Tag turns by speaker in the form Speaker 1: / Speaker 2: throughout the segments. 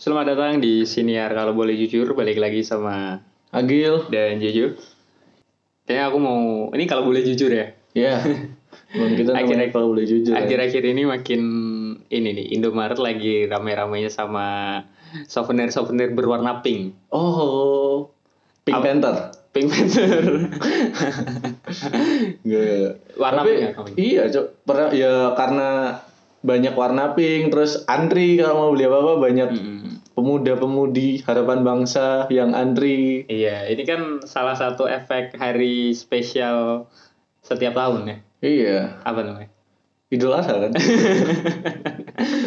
Speaker 1: Selamat datang di Siniar Kalau Boleh Jujur Balik lagi sama
Speaker 2: Agil.
Speaker 1: dan Jojo Kayaknya aku mau, ini kalau boleh jujur ya
Speaker 2: Ya. Cuman kita
Speaker 1: Akhirnya-
Speaker 2: namanya kalau boleh jujur. ya.
Speaker 1: Akhir-akhir ini makin ini nih Indomaret lagi rame-ramenya sama souvenir-souvenir berwarna pink
Speaker 2: Oh. Pink
Speaker 1: Apa?
Speaker 2: Panther.
Speaker 1: Pink Panther
Speaker 2: Nggak.
Speaker 1: Warna
Speaker 2: Tapi,
Speaker 1: pink ya kamu?
Speaker 2: Iya, Cok. Pernah ya karena banyak warna pink terus antri kalau mau beli apa-apa banyak
Speaker 1: Mm-mm.
Speaker 2: pemuda-pemudi harapan bangsa yang antri.
Speaker 1: Iya, ini kan salah satu efek hari spesial setiap tahun ya
Speaker 2: Iya.
Speaker 1: Apa namanya?
Speaker 2: Idul Adha kan?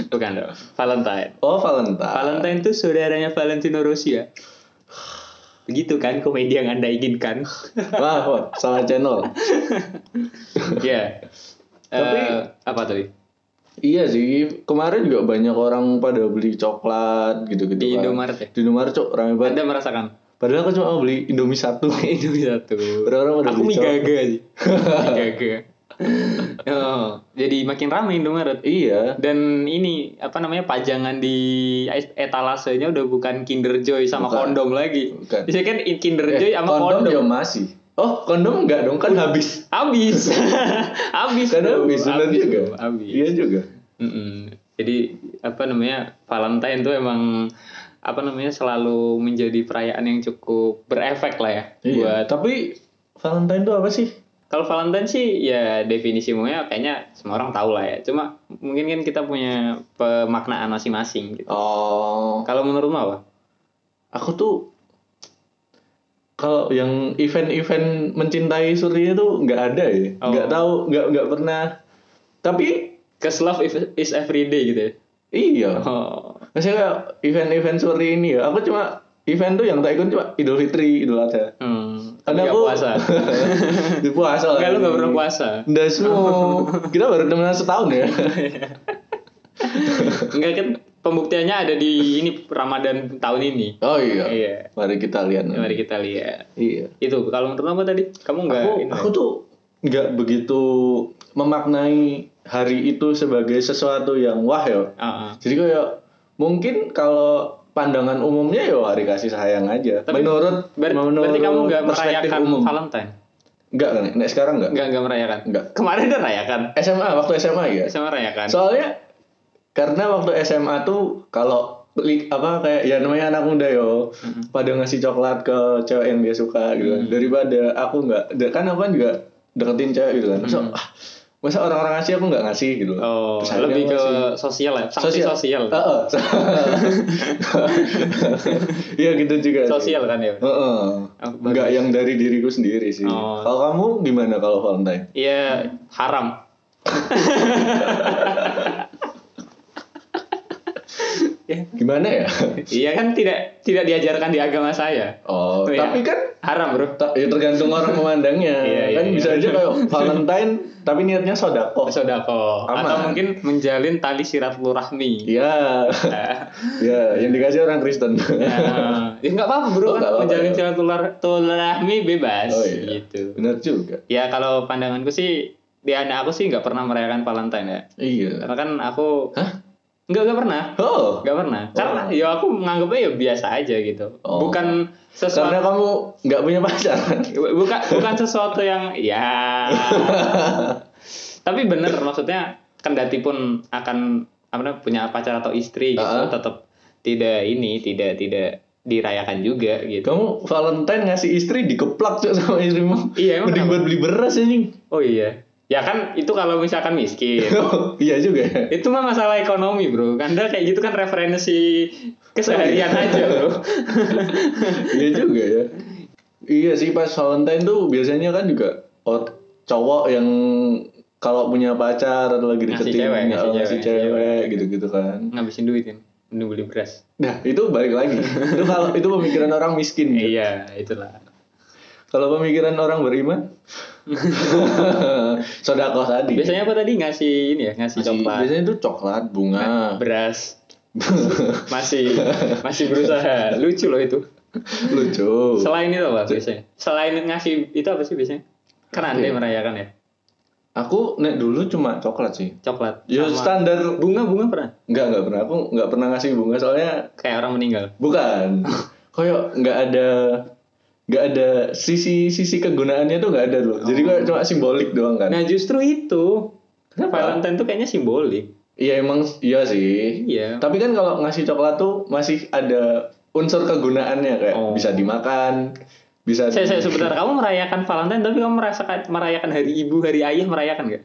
Speaker 1: Bukan dong, Valentine
Speaker 2: oh, Valentine.
Speaker 1: Valentine itu saudaranya Valentino Rossi ya? Begitu kan komedi yang Anda inginkan?
Speaker 2: Wah, wah, salah channel.
Speaker 1: Ya. Tapi
Speaker 2: Iya. Tapi-
Speaker 1: Eh, apa tadi?
Speaker 2: Iya sih, kemarin juga banyak orang pada beli coklat gitu-gitu
Speaker 1: Di
Speaker 2: kan.
Speaker 1: Indomaret ya?
Speaker 2: Di Indomaret, Cok, rame banget.
Speaker 1: Anda merasakan?
Speaker 2: Padahal aku cuma mau beli Indomie satu.
Speaker 1: Indomie satu.
Speaker 2: Orang-orang pada
Speaker 1: Aku
Speaker 2: beli
Speaker 1: mie
Speaker 2: coklat.
Speaker 1: gaga sih. Mie gaga. Oh, jadi makin ramai Indomaret.
Speaker 2: Iya.
Speaker 1: Dan ini apa namanya pajangan di etalasenya udah bukan Kinder Joy sama
Speaker 2: Bukan.
Speaker 1: kondom lagi.
Speaker 2: Bukan.
Speaker 1: Biasanya kan Kinder Joy
Speaker 2: Eh,
Speaker 1: sama
Speaker 2: kondom,
Speaker 1: kondom.
Speaker 2: ya masih. Oh, kondom enggak dong kan habis.
Speaker 1: Habis. habis.
Speaker 2: Kan
Speaker 1: bro.
Speaker 2: habis benar
Speaker 1: Habis,
Speaker 2: juga.
Speaker 1: bro. Habis.
Speaker 2: Iya juga.
Speaker 1: Mm-mm. Jadi apa namanya Valentine tuh emang apa namanya selalu menjadi perayaan yang cukup berefek lah ya buat
Speaker 2: Iya. Tapi Valentine itu apa sih?
Speaker 1: kalau Valentine sih ya definisi umumnya kayaknya semua orang tahu lah ya cuma mungkin kan kita punya pemaknaan masing-masing gitu.
Speaker 2: Oh,
Speaker 1: Kalau menurutmu apa?
Speaker 2: aku tuh kalau yang event-event mencintai Surya itu nggak ada ya.
Speaker 1: Oh.
Speaker 2: Nggak tahu, nggak nggak pernah. Tapi
Speaker 1: Cause love is- is everyday gitu ya.
Speaker 2: iya.
Speaker 1: Oh.
Speaker 2: Maksudnya kayak event-event Surya ini ya. Aku cuma event tuh yang tak ikut cuma Idul Fitri, Idul Adha.
Speaker 1: Hmm. Nggak
Speaker 2: Karena aku
Speaker 1: puasa.
Speaker 2: Di puasa lah.
Speaker 1: Enggak lu nggak pernah puasa.
Speaker 2: Nggak
Speaker 1: Oh.
Speaker 2: semua. Kita baru temenan setahun ya.
Speaker 1: Enggak kan pembuktiannya ada di ini Ramadan tahun ini.
Speaker 2: Oh iya.
Speaker 1: Iya.
Speaker 2: Mari kita lihat. nanti.
Speaker 1: Mari kita lihat.
Speaker 2: Iya.
Speaker 1: itu kalau menurut kamu tadi kamu nggak
Speaker 2: Aku,
Speaker 1: ini
Speaker 2: aku tuh nggak begitu memaknai hari itu sebagai sesuatu yang wah ya.
Speaker 1: ya? Ah, ah.
Speaker 2: Jadi kayak mungkin kalau pandangan umumnya ya hari kasih sayang aja.
Speaker 1: Tapi
Speaker 2: menurut
Speaker 1: Ber-
Speaker 2: menurut
Speaker 1: berarti kamu nggak
Speaker 2: perspektif
Speaker 1: merayakan
Speaker 2: umum.
Speaker 1: Valentine
Speaker 2: Enggak kan? Nek sekarang enggak?
Speaker 1: nggak nggak merayakan
Speaker 2: Nggak.
Speaker 1: kemarin udah rayakan
Speaker 2: SMA waktu SMA ya.
Speaker 1: sama rayakan
Speaker 2: Soalnya karena waktu SMA tuh kalau li- apa kayak ya namanya anak muda yo pada ngasih coklat ke cewek yang dia suka gitu kan. daripada aku nggak da- kan aku kan juga deketin cewek gitu kan masa ah, masa orang-orang ngasih aku nggak ngasih gitu kan.
Speaker 1: oh
Speaker 2: Terus akhirnya
Speaker 1: lebih
Speaker 2: aku
Speaker 1: ke
Speaker 2: ngasih.
Speaker 1: sosial ya sanksi sosial
Speaker 2: Heeh. Iya gitu juga sih.
Speaker 1: sosial kan ya
Speaker 2: Heeh.
Speaker 1: Oh, bagus.
Speaker 2: nggak yang dari diriku sendiri sih
Speaker 1: Oh.
Speaker 2: kalau kamu gimana kalau Valentine
Speaker 1: iya haram
Speaker 2: gimana ya
Speaker 1: iya kan tidak tidak diajarkan di agama saya
Speaker 2: oh
Speaker 1: Iya.
Speaker 2: tapi kan
Speaker 1: haram bro
Speaker 2: Ta- ya tergantung orang memandangnya
Speaker 1: Iya, iya,
Speaker 2: kan
Speaker 1: iya.
Speaker 2: bisa aja kayak Valentine tapi niatnya sodako
Speaker 1: sodako atau
Speaker 2: Oh. Aman.
Speaker 1: mungkin menjalin tali silaturahmi
Speaker 2: iya iya yang dikasih orang Kristen
Speaker 1: Nah, ya nggak apa-apa bro
Speaker 2: Oh, nggak
Speaker 1: kan
Speaker 2: apa-apa,
Speaker 1: menjalin
Speaker 2: ya.
Speaker 1: silaturahmi bebas
Speaker 2: Oh, iya.
Speaker 1: gitu
Speaker 2: benar juga
Speaker 1: Ya kalau pandanganku sih di anak aku sih nggak pernah merayakan Valentine ya.
Speaker 2: iya
Speaker 1: Karena kan aku
Speaker 2: hah
Speaker 1: nggak nggak pernah,
Speaker 2: oh
Speaker 1: nggak pernah. Karena ya aku menganggapnya ya biasa aja gitu.
Speaker 2: Oh.
Speaker 1: Bukan
Speaker 2: karena
Speaker 1: sesuatu
Speaker 2: kamu nggak punya pacar
Speaker 1: bukan bukan sesuatu yang ya. Tapi bener maksudnya kendati pun akan apa namanya, punya pacar atau istri gitu
Speaker 2: Ah.
Speaker 1: tetap tidak ini tidak tidak dirayakan juga gitu.
Speaker 2: kamu Valentine ngasih istri dikeplak tuh sama istrimu
Speaker 1: Iya, emang
Speaker 2: mending
Speaker 1: kenapa?
Speaker 2: buat beli beras anjing
Speaker 1: Oh iya. Ya kan itu kalau misalkan miskin.
Speaker 2: iya juga ya
Speaker 1: Itu mah masalah ekonomi bro Anda kayak gitu kan referensi keseharian aja bro
Speaker 2: iya juga ya iya sih pas Valentine tuh biasanya kan juga oh, cowok yang kalau punya pacar atau lagi
Speaker 1: Ngasih
Speaker 2: deketin
Speaker 1: cewek, ngasih
Speaker 2: oh,
Speaker 1: cewek,
Speaker 2: ngasih
Speaker 1: ngasih
Speaker 2: cewek gitu-gitu kan
Speaker 1: Ngabisin duit kan Mending beli beras
Speaker 2: nah itu balik lagi itu kalau itu pemikiran orang miskin ya.
Speaker 1: Iya itulah
Speaker 2: kalau pemikiran orang beriman sodako tadi
Speaker 1: Biasanya apa tadi ngasih ini ya Ngasih Ah.
Speaker 2: Masih-
Speaker 1: coklat Nah,
Speaker 2: biasanya itu coklat bunga
Speaker 1: Beras Masih Masih berusaha Lucu loh itu
Speaker 2: lucu
Speaker 1: Selain itu apa biasanya Selain ngasih Itu apa sih biasanya Kan anda yang merayakan ya
Speaker 2: Aku nek dulu cuma coklat sih.
Speaker 1: Coklat.
Speaker 2: Ya
Speaker 1: Sama-
Speaker 2: standar bunga bunga
Speaker 1: pernah?
Speaker 2: Enggak enggak pernah. Aku enggak pernah ngasih bunga soalnya
Speaker 1: Kayak orang meninggal.
Speaker 2: bukan. Koyok enggak ada enggak ada sisi sisi kegunaannya tuh enggak ada loh. Jadi kok
Speaker 1: Oh.
Speaker 2: cuma simbolik doang kan.
Speaker 1: Nah justru itu.
Speaker 2: Kenapa?
Speaker 1: Valentine tuh kayaknya simbolik.
Speaker 2: Iya emang iya sih.
Speaker 1: Iya.
Speaker 2: Tapi kan kalau ngasih coklat tuh masih ada unsur kegunaannya kayak
Speaker 1: Oh.
Speaker 2: bisa dimakan, bisa
Speaker 1: Saya,
Speaker 2: di-
Speaker 1: saya sebentar kamu merayakan Valentine tapi kamu merasakan merayakan hari ibu hari ayah merayakan nggak?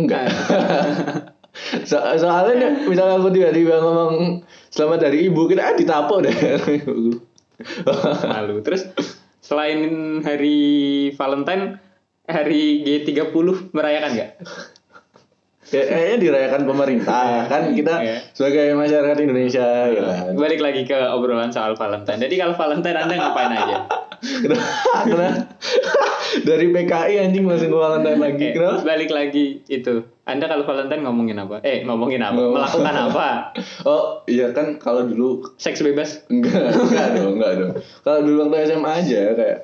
Speaker 2: Enggak.
Speaker 1: Nah.
Speaker 2: so, soalnya nih, misalnya aku tiba-tiba ngomong selamat dari ibu, kita ah, ditapo deh.
Speaker 1: Malu. Terus selain hari Valentine hari G30 merayakan nggak?
Speaker 2: ya, kayaknya dirayakan pemerintah kan kita
Speaker 1: Iya. Nah.
Speaker 2: sebagai masyarakat Indonesia ya kan.
Speaker 1: Balik lagi ke obrolan soal Valentine. Jadi kalau Valentine Anda ngapain aja?
Speaker 2: Kenapa- kenapa- dari PKI anjing masih Valentine lagi
Speaker 1: Eh,
Speaker 2: kenapa?
Speaker 1: balik lagi itu. Anda kalau Valentine ngomongin apa? Eh, ngomongin apa?
Speaker 2: Ngomong-
Speaker 1: Melakukan apa?
Speaker 2: Oh iya kan kalau dulu
Speaker 1: Seks bebas.
Speaker 2: enggak enggak dong enggak dong. Kalau dulu waktu SMA aja kayak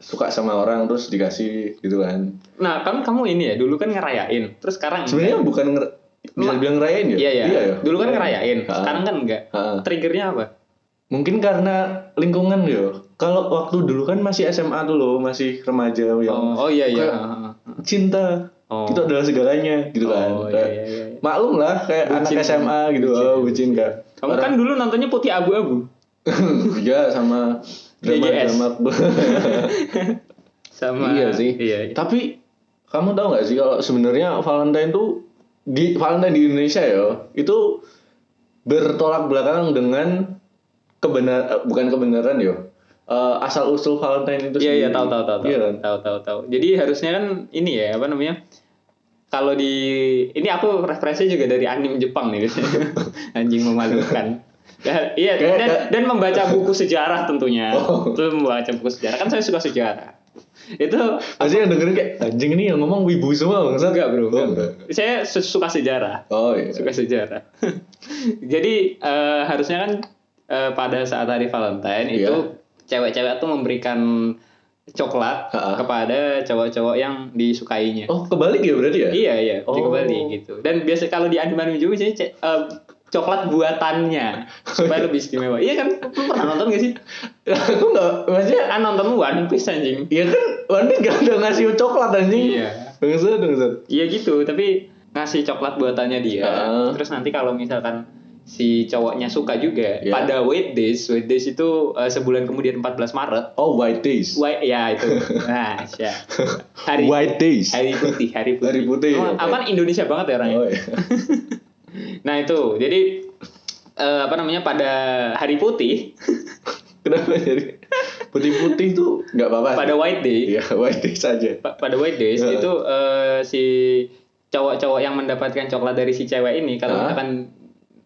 Speaker 2: suka sama orang terus dikasih gitu kan.
Speaker 1: Nah, kan kamu ini ya, dulu kan ngerayain. Terus sekarang
Speaker 2: Sebenarnya bukan nger bisa dibilang ngerayain ya?
Speaker 1: Iya ya.
Speaker 2: ya.
Speaker 1: Dulu kan ngerayain,
Speaker 2: Ha.
Speaker 1: sekarang kan enggak.
Speaker 2: Ha.
Speaker 1: Triggernya apa?
Speaker 2: Mungkin karena lingkungan yo. Kalau waktu dulu kan masih SMA tuh loh, masih remaja yang
Speaker 1: Oh, oh iya iya.
Speaker 2: Kayak-
Speaker 1: Ha, ha, ha.
Speaker 2: cinta.
Speaker 1: Oh.
Speaker 2: Itu adalah segalanya gitu kan.
Speaker 1: Oh,
Speaker 2: Kayak-
Speaker 1: iya, iya, iya.
Speaker 2: Maklum lah kayak anak
Speaker 1: Bucin.
Speaker 2: SMA gitu. oh, bucin kan.
Speaker 1: Kamu kan dulu nontonnya putih abu-abu.
Speaker 2: Iya sama
Speaker 1: BGS.
Speaker 2: drama-drama.
Speaker 1: Sama
Speaker 2: Iya sih.
Speaker 1: Iya. iya.
Speaker 2: Tapi kamu tahu nggak sih kalau sebenarnya Valentine tuh di Valentine di Indonesia ya itu bertolak belakang dengan kebenar eh, bukan kebenaran yo asal usul Valentine itu
Speaker 1: Iya iya
Speaker 2: sendiri.
Speaker 1: tahu tahu tahu tahu.
Speaker 2: Iya kan?
Speaker 1: Tahu tahu tahu. Jadi harusnya kan ini ya apa namanya? Kalau di ini aku referensinya juga dari anime Jepang nih biasanya. Anjing memalukan. Ya, iya
Speaker 2: Kayak-
Speaker 1: dan,
Speaker 2: kayak-
Speaker 1: dan membaca buku sejarah tentunya.
Speaker 2: Oh.
Speaker 1: Itu membaca buku sejarah kan saya suka sejarah. Itu
Speaker 2: Pasti yang dengerin kayak anjing ini yang ngomong wibu semua bangsa
Speaker 1: enggak bro.
Speaker 2: Oh,
Speaker 1: enggak, bro.
Speaker 2: enggak.
Speaker 1: Saya su- suka sejarah.
Speaker 2: Oh iya.
Speaker 1: suka sejarah. Jadi eh, harusnya kan eh, pada saat hari Valentine
Speaker 2: Iya.
Speaker 1: itu cewek-cewek tuh memberikan coklat
Speaker 2: Ha-ha.
Speaker 1: kepada cowok-cowok yang disukainya.
Speaker 2: Oh kebalik ya berarti ya?
Speaker 1: Iya iya,
Speaker 2: Oh.
Speaker 1: di kembali gitu. Dan biasa kalau di anime juga biasanya ce- eh, coklat buatannya supaya lebih istimewa. Iya kan? Lu pernah nonton gak sih?
Speaker 2: Aku nggak maksudnya
Speaker 1: Kan nonton One Piece anjing.
Speaker 2: ya kan Wandi nggak ada ngasih coklat anjing.
Speaker 1: Iya.
Speaker 2: Bangsat bangsat.
Speaker 1: Iya gitu, tapi ngasih coklat buatannya dia.
Speaker 2: Heeh.
Speaker 1: Terus nanti kalau misalkan si cowoknya suka juga
Speaker 2: Iya.
Speaker 1: pada wait days, wait days itu eh, sebulan kemudian 14 Maret.
Speaker 2: Oh white days.
Speaker 1: Wait, ya itu. Nah, ya. Hari
Speaker 2: White days.
Speaker 1: hari putih, hari putih.
Speaker 2: Hari putih,
Speaker 1: Emang-
Speaker 2: oke.
Speaker 1: aku kan Indonesia banget ya orangnya.
Speaker 2: Oh iya.
Speaker 1: Nah, itu. Jadi eh, apa namanya pada hari putih,
Speaker 2: Kenapa jadi putih-putih tuh nggak apa-apa?
Speaker 1: pada white day,
Speaker 2: Iya, white day saja.
Speaker 1: Pa- pada white days
Speaker 2: Heeh.
Speaker 1: itu eh, si cowok-cowok yang mendapatkan coklat dari si cewek ini kalau
Speaker 2: Heeh.
Speaker 1: misalkan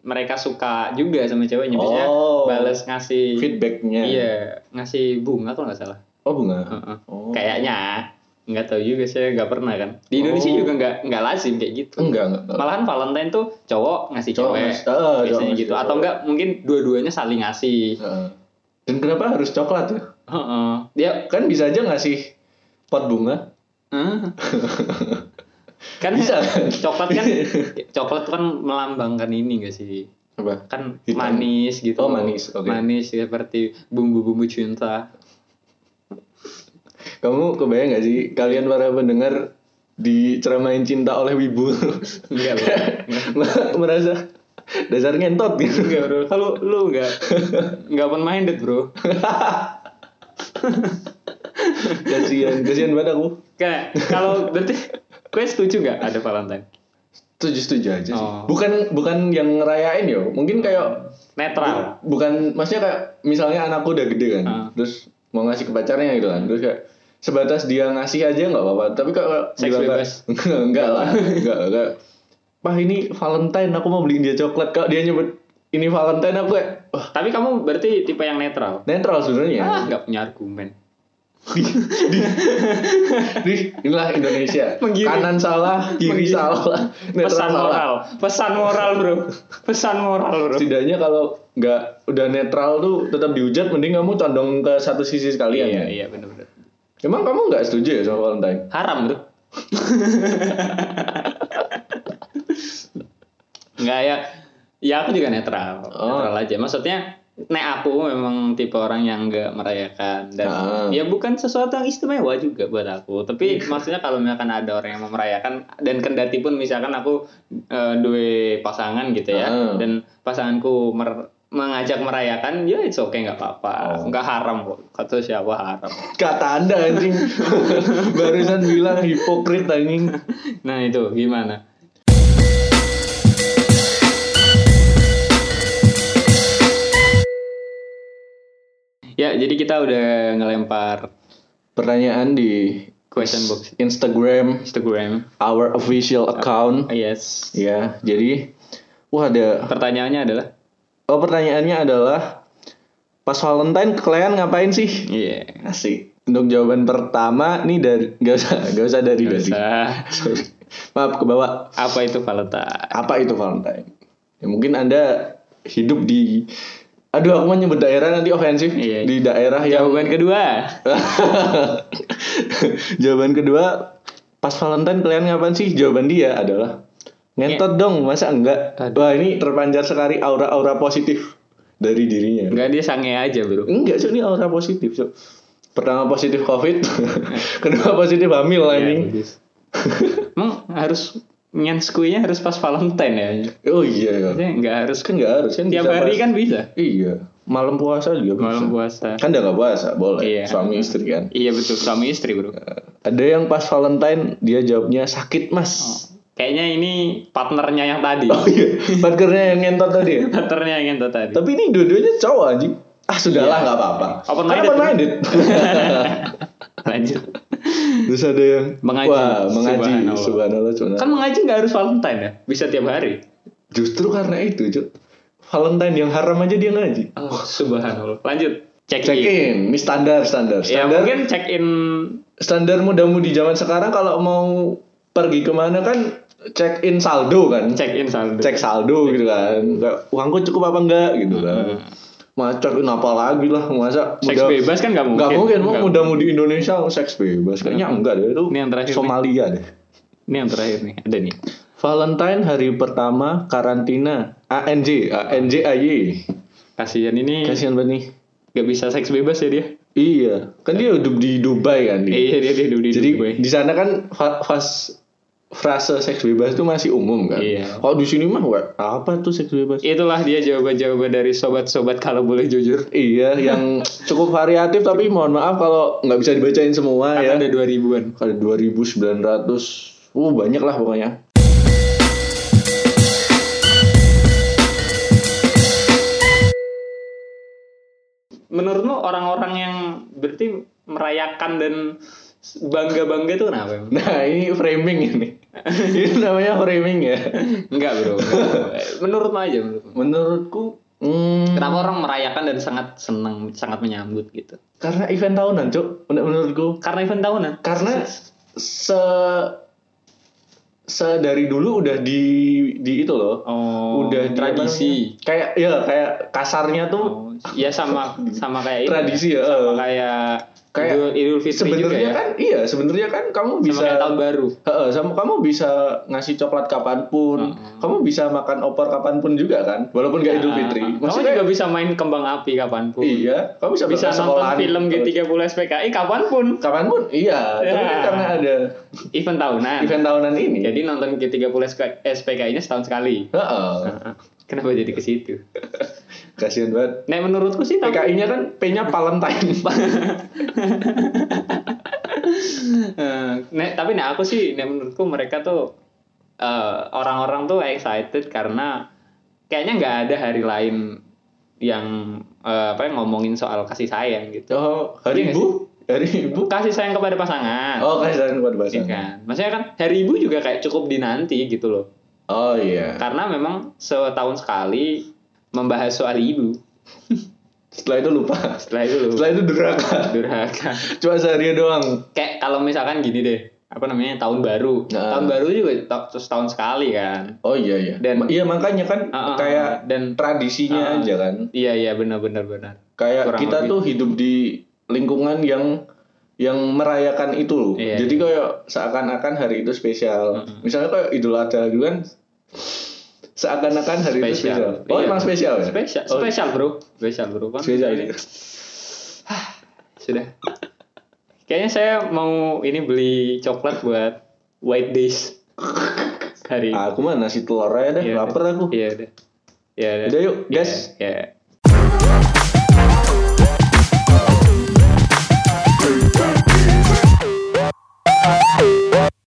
Speaker 1: mereka suka juga sama ceweknya biasanya
Speaker 2: Oh.
Speaker 1: balas ngasih
Speaker 2: Feedbacknya.
Speaker 1: iya ngasih bunga kalau nggak salah
Speaker 2: Oh bunga.
Speaker 1: Heeh.
Speaker 2: Oh.
Speaker 1: kayaknya nggak tahu juga saya nggak pernah kan di Indonesia
Speaker 2: Oh.
Speaker 1: juga nggak nggak lazim kayak gitu
Speaker 2: Enggak enggak. enggak.
Speaker 1: malahan Valentine tuh cowok ngasih
Speaker 2: Cowok
Speaker 1: cewek
Speaker 2: ngasih- heeh, cowok
Speaker 1: biasanya
Speaker 2: ngasih
Speaker 1: gitu atau
Speaker 2: cewek.
Speaker 1: enggak mungkin dua-duanya saling ngasih
Speaker 2: Heeh. Dan kenapa harus coklat ya?
Speaker 1: Heeh. dia
Speaker 2: Kan bisa aja ngasih pot bunga.
Speaker 1: Hah? kan
Speaker 2: Bisa, kan?
Speaker 1: coklat kan coklat tuh kan melambangkan ini gak sih
Speaker 2: Apa?
Speaker 1: kan
Speaker 2: Hitam.
Speaker 1: manis gitu
Speaker 2: Oh,
Speaker 1: loh.
Speaker 2: manis, oke.
Speaker 1: manis seperti bumbu-bumbu cinta
Speaker 2: Kamu kebayang nggak sih kalian para pendengar diceramain cinta oleh wibu?
Speaker 1: enggak bro
Speaker 2: Merasa dasar ngentot gitu.
Speaker 1: enggak bro kalau lu enggak enggak open minded bro
Speaker 2: Kasihan, kasihan banget aku.
Speaker 1: kayak kalau berarti gue setuju nggak ada Valentine
Speaker 2: Setuju setuju aja sih.
Speaker 1: Oh.
Speaker 2: Bukan bukan yang ngerayain yo. Mungkin kayak
Speaker 1: netral
Speaker 2: bukan maksudnya kayak misalnya anakku udah gede kan
Speaker 1: Ah.
Speaker 2: terus mau ngasih ke pacarnya gitu kan terus kayak sebatas dia ngasih aja nggak apa-apa tapi kalau
Speaker 1: Seks
Speaker 2: bilang kayak,
Speaker 1: bebas.
Speaker 2: enggak, enggak lah enggak enggak Pak ini Valentine aku mau beliin dia coklat kalau dia nyebut ini Valentine aku kayak wah
Speaker 1: tapi kamu berarti tipe yang netral
Speaker 2: netral
Speaker 1: ah
Speaker 2: sebenarnya
Speaker 1: nggak punya argumen
Speaker 2: Nih, inilah Indonesia
Speaker 1: Menggiring.
Speaker 2: kanan salah kiri
Speaker 1: Menggiring.
Speaker 2: salah netral
Speaker 1: pesan
Speaker 2: salah.
Speaker 1: moral pesan moral bro pesan moral bro
Speaker 2: setidaknya kalau nggak udah netral tuh tetap dihujat mending kamu condong ke satu sisi sekalian
Speaker 1: iya
Speaker 2: ya.
Speaker 1: iya benar-benar
Speaker 2: Emang kamu nggak setuju ya sama Valentine?
Speaker 1: haram bro Enggak ya. Ya aku juga netral.
Speaker 2: Oh.
Speaker 1: Netral aja. Maksudnya nek aku memang tipe orang yang enggak merayakan dan
Speaker 2: Ah.
Speaker 1: ya
Speaker 2: Iya.
Speaker 1: bukan sesuatu yang istimewa juga buat aku. Tapi maksudnya kalau misalkan ada orang yang mau merayakan dan kendati pun misalkan aku eh, dua pasangan gitu ya
Speaker 2: Ah.
Speaker 1: dan pasanganku mer- mengajak merayakan ya it's okay nggak apa-apa
Speaker 2: Oh.
Speaker 1: nggak haram kok kata siapa haram
Speaker 2: Kata anda anjing Barusan bilang hipokrit anjing
Speaker 1: nah itu gimana ya jadi kita udah ngelempar
Speaker 2: Pertanyaan di
Speaker 1: question box
Speaker 2: Instagram
Speaker 1: Instagram
Speaker 2: Our official account
Speaker 1: yes
Speaker 2: Ya jadi Wah ada
Speaker 1: pertanyaannya adalah
Speaker 2: Oh pertanyaannya adalah Pas Valentine kalian ngapain sih?
Speaker 1: iya
Speaker 2: Asik Untuk jawaban pertama nih dari Gak usah, gak usah dari
Speaker 1: nggak
Speaker 2: dari
Speaker 1: usah.
Speaker 2: Sorry. Maaf ke bawah
Speaker 1: apa itu Valentine
Speaker 2: apa itu Valentine? Ya, mungkin anda hidup di, aduh aku mau nyebut daerah nanti ofensif
Speaker 1: Iya.
Speaker 2: di daerah yang
Speaker 1: jawaban kedua
Speaker 2: jawaban kedua pas Valentine kalian ngapain sih? Jawaban dia adalah ngentot dong masa enggak?
Speaker 1: Iya. Aduh.
Speaker 2: Wah ini terpancar sekali aura-aura positif dari dirinya.
Speaker 1: nggak dia sange aja bro
Speaker 2: Enggak cuy ini aura positif cuy. Pertama positif covid, kedua positif hamil
Speaker 1: Ya,
Speaker 2: anjing.
Speaker 1: bagus. Emang harus nyanskuinya harus pas Valentine ya
Speaker 2: Oh iya, iya.
Speaker 1: Maksudnya nggak harus
Speaker 2: kan enggak harus kan
Speaker 1: tiap
Speaker 2: bisa
Speaker 1: hari
Speaker 2: pas-
Speaker 1: kan bisa
Speaker 2: Iya, malam puasa juga bisa.
Speaker 1: malam puasa
Speaker 2: kan udah gak puasa boleh
Speaker 1: Iya.
Speaker 2: suami istri kan
Speaker 1: iya betul suami istri bro
Speaker 2: ada yang pas Valentine dia jawabnya sakit mas
Speaker 1: kayaknya ini partnernya yang tadi
Speaker 2: oh, iya partnernya yang ngentot tadi ya
Speaker 1: partnernya yang itu tadi
Speaker 2: tapi ini dua-duanya cowok anjing ah sudahlah
Speaker 1: Iya.
Speaker 2: nggak apa-apa
Speaker 1: Open
Speaker 2: Kan
Speaker 1: minded.
Speaker 2: open minded
Speaker 1: lanjut
Speaker 2: terus ada yang
Speaker 1: Mengaji.
Speaker 2: wah mengaji
Speaker 1: Subhanallah.
Speaker 2: subhanallah, subhanallah.
Speaker 1: kan mengaji nggak harus Valentine ya bisa tiap hari
Speaker 2: justru karena itu Cuk. Valentine yang haram aja dia ngaji
Speaker 1: oh, subhanallah lanjut check,
Speaker 2: check
Speaker 1: in.
Speaker 2: in ini standar standar
Speaker 1: ya
Speaker 2: standar
Speaker 1: Iya. mungkin check in
Speaker 2: standar mudamu di zaman sekarang kalau mau pergi kemana kan check in saldo kan
Speaker 1: check in saldo
Speaker 2: cek saldo gitu kan Kayak, uangku cukup apa enggak gitu kan macet kenapa lagi lah masa
Speaker 1: Hmm. seks
Speaker 2: muda-
Speaker 1: bebas kan nggak mungkin
Speaker 2: nggak mungkin mau
Speaker 1: Nggak
Speaker 2: muda mudi Indonesia oh, seks bebas kayaknya enggak deh itu
Speaker 1: Ini yang terakhir nih.
Speaker 2: Somalia deh
Speaker 1: ini yang terakhir nih ada nih
Speaker 2: Valentine hari pertama karantina ANJ ANJ AY
Speaker 1: kasihan ini
Speaker 2: kasihan banget nih
Speaker 1: nggak bisa seks bebas ya dia
Speaker 2: iya kan dia hidup di Dubai kan dia.
Speaker 1: Eh, iya dia dia dulu di
Speaker 2: jadi
Speaker 1: Dubai.
Speaker 2: di sana kan fa- fas frase seks bebas itu masih umum kan
Speaker 1: Iya.
Speaker 2: kalau di sini mah wah, apa tuh seks bebas
Speaker 1: Itulah dia jawaban-jawaban dari sobat-sobat kalau boleh jujur.
Speaker 2: Iya, yang cukup variatif tapi mohon maaf kalau nggak bisa dibacain semua ya.
Speaker 1: Karena ada 2000-an.
Speaker 2: Ada 2900. Uh, banyak lah pokoknya.
Speaker 1: Menurutmu orang-orang yang berarti merayakan dan bangga-bangga itu kenapa? emang?
Speaker 2: Nah, ini framing ini. ini namanya framing ya.
Speaker 1: Enggak, Bro. Enggak. Menurutmu aja menurutmu.
Speaker 2: Menurutku hmm,
Speaker 1: Kenapa orang merayakan dan sangat senang, sangat menyambut gitu?
Speaker 2: karena event tahunan, Cuk. Men- Menurutku
Speaker 1: Karena event tahunan.
Speaker 2: karena se se dari dulu udah di di itu loh.
Speaker 1: Oh,
Speaker 2: udah di-
Speaker 1: tradisi.
Speaker 2: Kayak ya kayak kasarnya tuh
Speaker 1: Oh, ya sama sama kayak
Speaker 2: tradisi ya. eh.
Speaker 1: Sama kayak
Speaker 2: Kayak
Speaker 1: Oh, Idul, Idul Fitri juga
Speaker 2: sebenarnya
Speaker 1: ya.
Speaker 2: kan iya sebenarnya kan kamu
Speaker 1: Sama kayak
Speaker 2: bisa
Speaker 1: tahun baru.
Speaker 2: Heeh, sama kamu bisa ngasih coklat kapanpun
Speaker 1: Heeh.
Speaker 2: kamu bisa makan opor kapanpun juga kan walaupun gak idul fitri
Speaker 1: Nah, kamu
Speaker 2: maksudnya
Speaker 1: juga bisa main kembang api kapanpun.
Speaker 2: iya kamu bisa,
Speaker 1: bisa
Speaker 2: berangkat
Speaker 1: nonton
Speaker 2: sekolahan. gitu.
Speaker 1: film G30 SPKI kapanpun
Speaker 2: kapanpun iya tapi kan
Speaker 1: Ya.
Speaker 2: karena ada
Speaker 1: event tahunan
Speaker 2: event tahunan ini
Speaker 1: jadi nonton G30 SPKI nya setahun sekali
Speaker 2: Heeh.
Speaker 1: Nah. kenapa jadi ke situ
Speaker 2: kasihan banget
Speaker 1: nah menurutku sih tapi
Speaker 2: PKI nya kan P nya Valentine Hmm.
Speaker 1: Eh, nek- tapi nah aku sih nek menurutku mereka tuh eh, orang-orang tuh excited karena kayaknya nggak ada hari lain yang eh, apa ya, ngomongin soal kasih sayang gitu
Speaker 2: oh hari
Speaker 1: Iya nggak
Speaker 2: ibu hari ibu
Speaker 1: kasih sayang kepada pasangan
Speaker 2: oh kasihan
Speaker 1: Iya
Speaker 2: buat bahasa
Speaker 1: kan maksudnya kan hari ibu juga kayak cukup dinanti gitu loh
Speaker 2: oh iya
Speaker 1: karena memang setahun sekali membahas soal ibu
Speaker 2: setelah itu lupa
Speaker 1: setelah itu loh
Speaker 2: setelah itu durhaka
Speaker 1: durhaka
Speaker 2: cuma sehari doang
Speaker 1: kayak kalau misalkan gini deh apa namanya tahun baru
Speaker 2: Nah.
Speaker 1: tahun baru juga ta- setahun sekali kan
Speaker 2: Oh iya iya.
Speaker 1: Dan-
Speaker 2: iya makanya kan
Speaker 1: Ah, ah,
Speaker 2: kayak
Speaker 1: ah. dan
Speaker 2: tradisinya
Speaker 1: Ah.
Speaker 2: aja kan.
Speaker 1: iya iya benar benar benar
Speaker 2: Kayak
Speaker 1: Kurang
Speaker 2: kita
Speaker 1: lebih.
Speaker 2: tuh hidup di lingkungan yang yang merayakan itu loh.
Speaker 1: Iya. Ah,
Speaker 2: Jadi kayak seakan-akan hari itu spesial. Misalnya kayak Idul Adha gitu kan seakan-akan hari itu
Speaker 1: Spesial.
Speaker 2: spesial. Oh,
Speaker 1: Iya.
Speaker 2: emang spesial ya?
Speaker 1: Spesial,
Speaker 2: Oh,
Speaker 1: spesial bro, spesial bro kan.
Speaker 2: spesial ini.
Speaker 1: Sudah. Kayaknya saya mau ini beli coklat buat White Days hari.
Speaker 2: Aku mah nasi telur aja deh,
Speaker 1: Iya,
Speaker 2: Ah, eh, lapar aku.
Speaker 1: Iya udah. Iya udah.
Speaker 2: Udah yuk, guys.
Speaker 1: Iya.